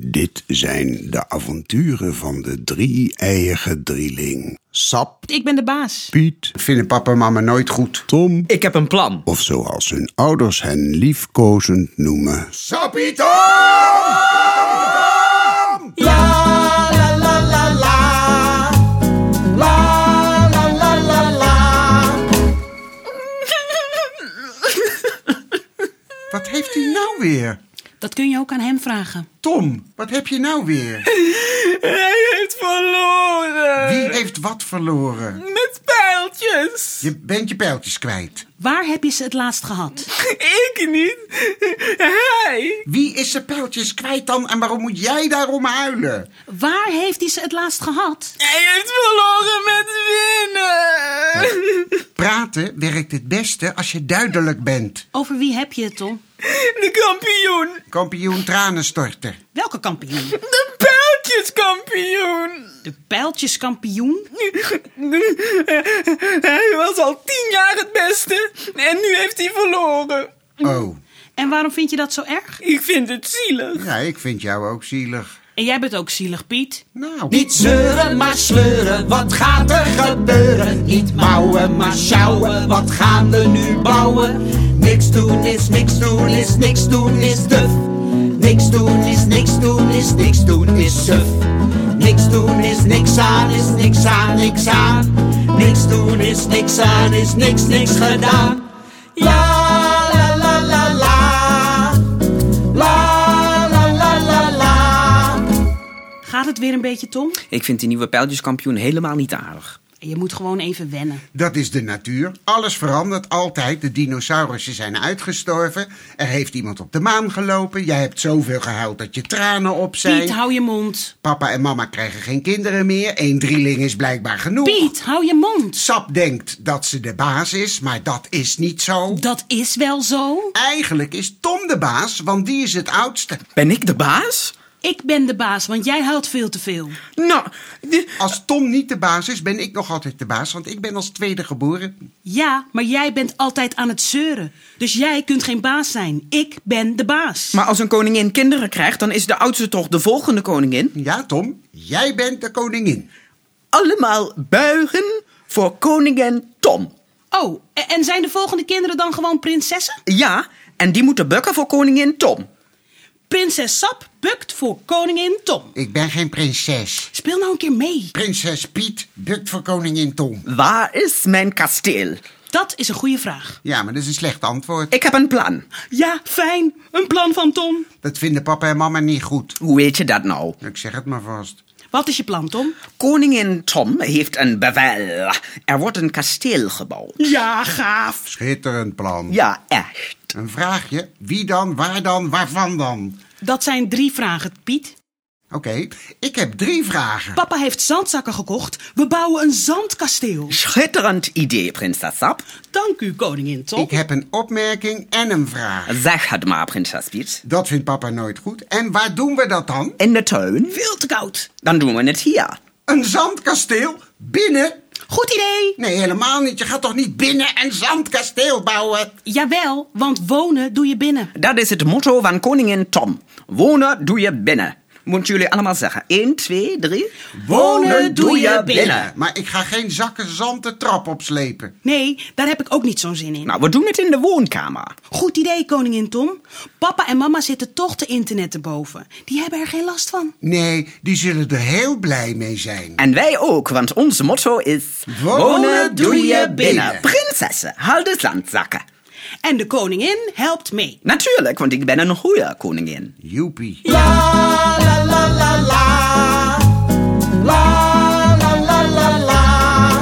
Dit zijn de avonturen van de drie-eiige drieling. Sap, Ik ben de baas. Piet, vinden papa en mama nooit goed. Tom, Ik heb een plan. of zoals hun ouders hen liefkozend noemen. Sapito! Wat heeft u nou weer? Dat kun je ook aan hem vragen. Tom, wat heb je nou weer? Hij heeft verloren. Wie heeft wat verloren? Met pijltjes. Je bent je pijltjes kwijt. Waar heb je ze het laatst gehad? Ik niet. Hij. Wie is zijn pijltjes kwijt dan en waarom moet jij daarom huilen? Waar heeft hij ze het laatst gehad? Hij heeft verloren met winnen. Praten werkt het beste als je duidelijk bent. Over wie heb je het, Tom? De kampioen. Kampioen tranenstorter. Welke kampioen? De pijltjeskampioen. De pijltjeskampioen? Hij was al tien jaar het beste. En nu heeft hij verloren. Oh, En waarom vind je dat zo erg? Ik vind het zielig. ja, ik vind jou ook zielig. En jij bent ook zielig, Piet. Nou, Niet zeuren, maar sleuren, wat gaat er gebeuren? Niet mouwen, maar sjouwen, wat gaan we nu bouwen? Niks doen is niks doen is niks doen is duf. Niks doen is niks doen is niks doen is suf. Niks doen is niks aan is niks aan niks aan. Niks doen is niks aan is niks niks gedaan. Ja, la la la la. La la la la la. Gaat het weer een beetje, Tom? Ik vind die nieuwe pijltjeskampioen helemaal niet aardig. Je moet gewoon even wennen. dat is de natuur. Alles verandert altijd. De dinosaurussen zijn uitgestorven. Er heeft iemand op de maan gelopen. Jij hebt zoveel gehuild dat je tranen op zijn. Piet, hou je mond. Papa en mama krijgen geen kinderen meer. Eén drieling is blijkbaar genoeg. Piet, hou je mond. Sap denkt dat ze de baas is, maar dat is niet zo. Dat is wel zo. Eigenlijk is Tom de baas, want die is het oudste. Ben ik de baas? Ik ben de baas, want jij huilt veel te veel. Nou, de- Als Tom niet de baas is, ben ik nog altijd de baas, want ik ben als tweede geboren. Ja, maar jij bent altijd aan het zeuren. Dus jij kunt geen baas zijn. Ik ben de baas. maar als een koningin kinderen krijgt, dan is de oudste toch de volgende koningin? Ja, Tom, jij bent de koningin. Allemaal buigen voor koningin Tom. Oh, e- en zijn de volgende kinderen dan gewoon prinsessen? Ja, en die moeten bukken voor koningin Tom. Prinses Sap bukt voor koningin Tom. Ik ben geen prinses. Speel nou een keer mee. Prinses Piet bukt voor koningin Tom. Waar is mijn kasteel? Dat is een goede vraag. Ja, maar dat is een slecht antwoord. Ik heb een plan. Ja, fijn. Een plan van Tom. Dat vinden papa en mama niet goed. Hoe weet je dat nou? Ik zeg het maar vast. Wat is je plan, Tom? Koningin Tom heeft een bevel. Er wordt een kasteel gebouwd. Ja, gaaf. Schitterend plan. Ja, echt. Een vraagje. Wie dan, waar dan, waarvan dan? Dat zijn drie vragen, Piet. Oké, ik heb drie vragen. Papa heeft zandzakken gekocht. We bouwen een zandkasteel. Schitterend idee, prinses Sap. Dank u, koningin Tom. Ik heb een opmerking en een vraag. Zeg het maar, prinses Piet. Dat vindt papa nooit goed. En waar doen we dat dan? In de tuin? Veel te koud. Dan doen we het hier. Een zandkasteel? Binnen? Goed idee. Nee, helemaal niet. Je gaat toch niet binnen een zandkasteel bouwen? Jawel, want wonen doe je binnen. Dat is het motto van koningin Tom. Wonen doe je binnen. Moeten jullie allemaal zeggen. 1, 2, 3. Wonen doe je binnen. Eh, Maar ik ga geen zakken zand de trap opslepen. Nee, daar heb ik ook niet zo'n zin in. Nou, we doen het in de woonkamer. Goed idee, koningin Tom. Papa en mama zitten toch te internetten boven. Die hebben er geen last van. Nee, die zullen er heel blij mee zijn. En wij ook, want ons motto is... Wonen doe je binnen. Prinsessen, haal de zandzakken. En de koningin helpt mee. Natuurlijk, want ik ben een goede koningin. Joepie. La la la la la. La la la la la.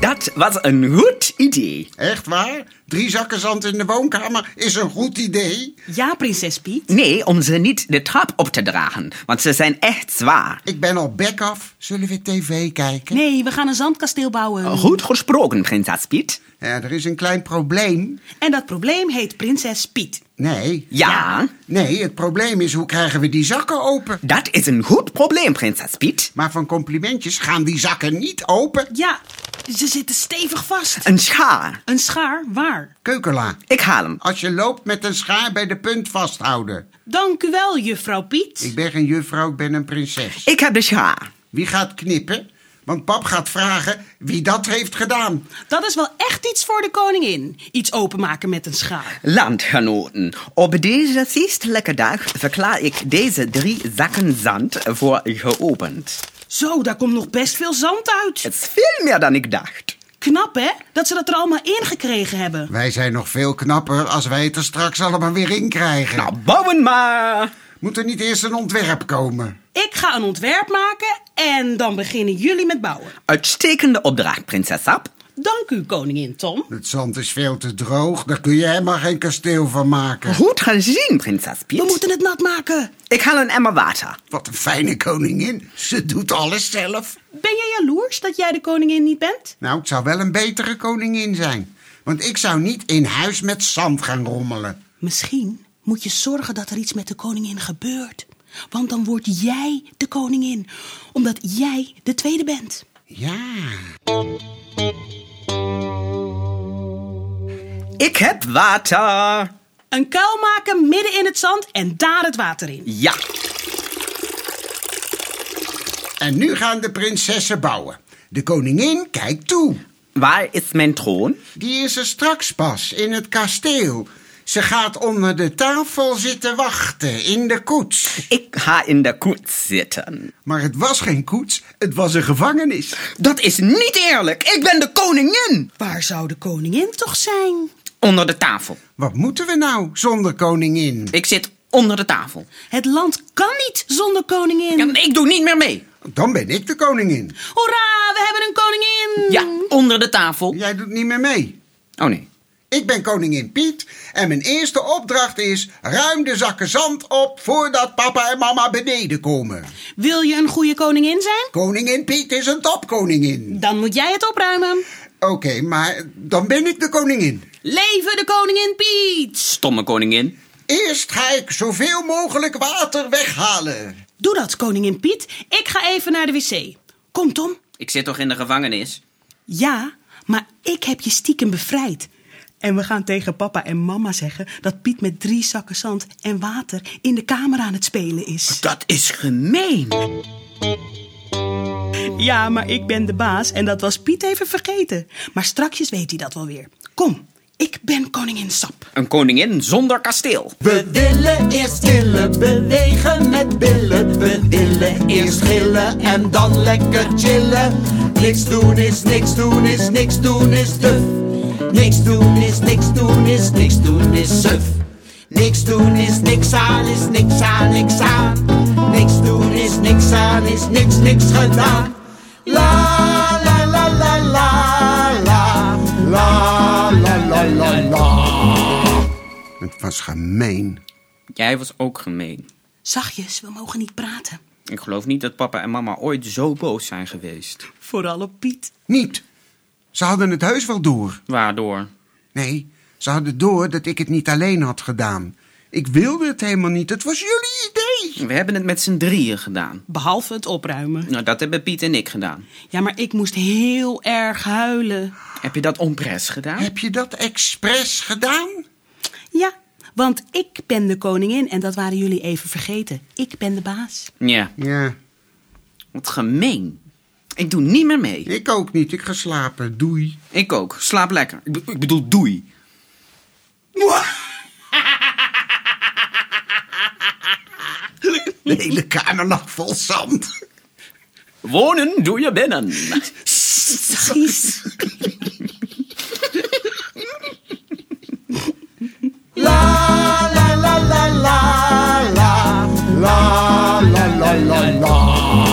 Dat was een goed idee. Echt waar? Drie zakken zand in de woonkamer is een goed idee. Ja, prinses Piet. Nee, om ze niet de trap op te dragen, want ze zijn echt zwaar. Ik ben al bek af. Zullen we tv kijken? Nee, we gaan een zandkasteel bouwen. Oh, Goed gesproken, prinses Piet. Ja, er is een klein probleem. En dat probleem heet prinses Piet. Nee. Ja, Nee, het probleem is hoe krijgen we die zakken open? dat is een goed probleem, prinses Piet. Maar van complimentjes gaan die zakken niet open. Ja, ze zitten stevig vast. Een schaar. Een schaar, waar? Keukela, Ik haal hem. als je loopt met een schaar bij de punt vasthouden. Dank u wel, juffrouw Piet. Ik ben geen juffrouw, ik ben een prinses. Ik heb dus, de schaar. Wie gaat knippen? Want pap gaat vragen wie dat heeft gedaan. Dat is wel echt iets voor de koningin. Iets openmaken met een schaar. Landgenoten, op deze feestelijke dag verklaar ik deze drie zakken zand voor geopend. Zo, daar komt nog best veel zand uit. Het is veel meer dan ik dacht. Knap, hè? Dat ze dat er allemaal in gekregen hebben. Wij zijn nog veel knapper als wij het er straks allemaal weer in krijgen. Nou, bouwen maar! Moet er niet eerst een ontwerp komen? Ik ga een ontwerp maken en dan beginnen jullie met bouwen. Uitstekende opdracht, prinses Sap. Dank u, koningin Tom. Het zand is veel te droog, daar kun je helemaal geen kasteel van maken. Goed gezien, prinses Piet. We moeten het nat maken. Ik haal een emmer water. Wat een fijne koningin, ze doet alles zelf. Ben jij jaloers dat jij de koningin niet bent? Nou, het zou wel een betere koningin zijn. Want ik zou niet in huis met zand gaan rommelen. Misschien moet je zorgen dat er iets met de koningin gebeurt. Want dan word jij de koningin, omdat jij de tweede bent. Ja, Ik heb water. Een kuil maken midden in het zand en daar het water in. Ja, en nu gaan de prinsessen bouwen. De koningin kijkt toe. waar is mijn troon? Die is er straks pas in het kasteel. Ze gaat onder de tafel zitten wachten in de koets. Ik ga in de koets zitten. Maar het was geen koets, het was een gevangenis. Dat is niet eerlijk. Ik ben de koningin. Waar zou de koningin toch zijn? Onder de tafel. Wat moeten we nou zonder koningin? Ik zit onder de tafel. Het land kan niet zonder koningin. En ik doe niet meer mee. Dan ben ik de koningin. Hoera, we hebben een koningin! Ja, onder de tafel. Jij doet niet meer mee. Oh nee. Ik ben koningin Piet en mijn eerste opdracht is... ruim de zakken zand op voordat papa en mama beneden komen. Wil je een goede koningin zijn? Koningin Piet is een topkoningin. Dan moet jij het opruimen. Oké, maar dan ben ik de koningin. Leven de koningin Piet! Stomme koningin. Eerst ga ik zoveel mogelijk water weghalen. Doe dat, koningin Piet. Ik ga even naar de wc. Kom, Tom. Ik zit toch in de gevangenis? Ja, maar ik heb je stiekem bevrijd. En we gaan tegen papa en mama zeggen dat Piet met drie zakken zand en water in de kamer aan het spelen is. Dat is gemeen. Ja, maar ik ben de baas en dat was Piet even vergeten. Maar strakjes weet hij dat wel weer. Kom, ik ben koningin Sap. Een koningin zonder kasteel. We willen eerst chillen, bewegen met billen. We willen eerst gillen en dan lekker chillen. Niks doen is niks doen is niks doen is duf. Niks doen is niks doen is niks doen is suf. Niks doen is niks aan is niks aan niks aan. Niks doen is niks aan is niks niks gedaan. La la la la la la la la la la la. Het was gemeen. Jij was ook gemeen. Zachtjes, we mogen niet praten. Ik geloof niet dat papa en mama ooit zo boos zijn geweest. Vooral op Piet. Niet. Ze hadden het heus wel door. Waardoor? Nee, ze hadden door dat ik het niet alleen had gedaan. Ik wilde het helemaal niet. Het was jullie idee. We hebben het met z'n drieën gedaan. Behalve het opruimen. Nou, dat hebben Piet en ik gedaan. Ja, maar ik moest heel erg huilen. Heb je dat onpres gedaan? Heb je dat expres gedaan? Ja, want ik ben de koningin en dat waren jullie even vergeten. Ik ben de baas. Ja. Ja, Wat gemeen. Ik doe niet meer mee. ik ook niet. Ik ga slapen. Doei. Ik ook. Slaap lekker. Ik, be- ik bedoel, doei. De hele kamer lag vol zand. Wonen doe je binnen. Precies. La la la la la la la la la la la.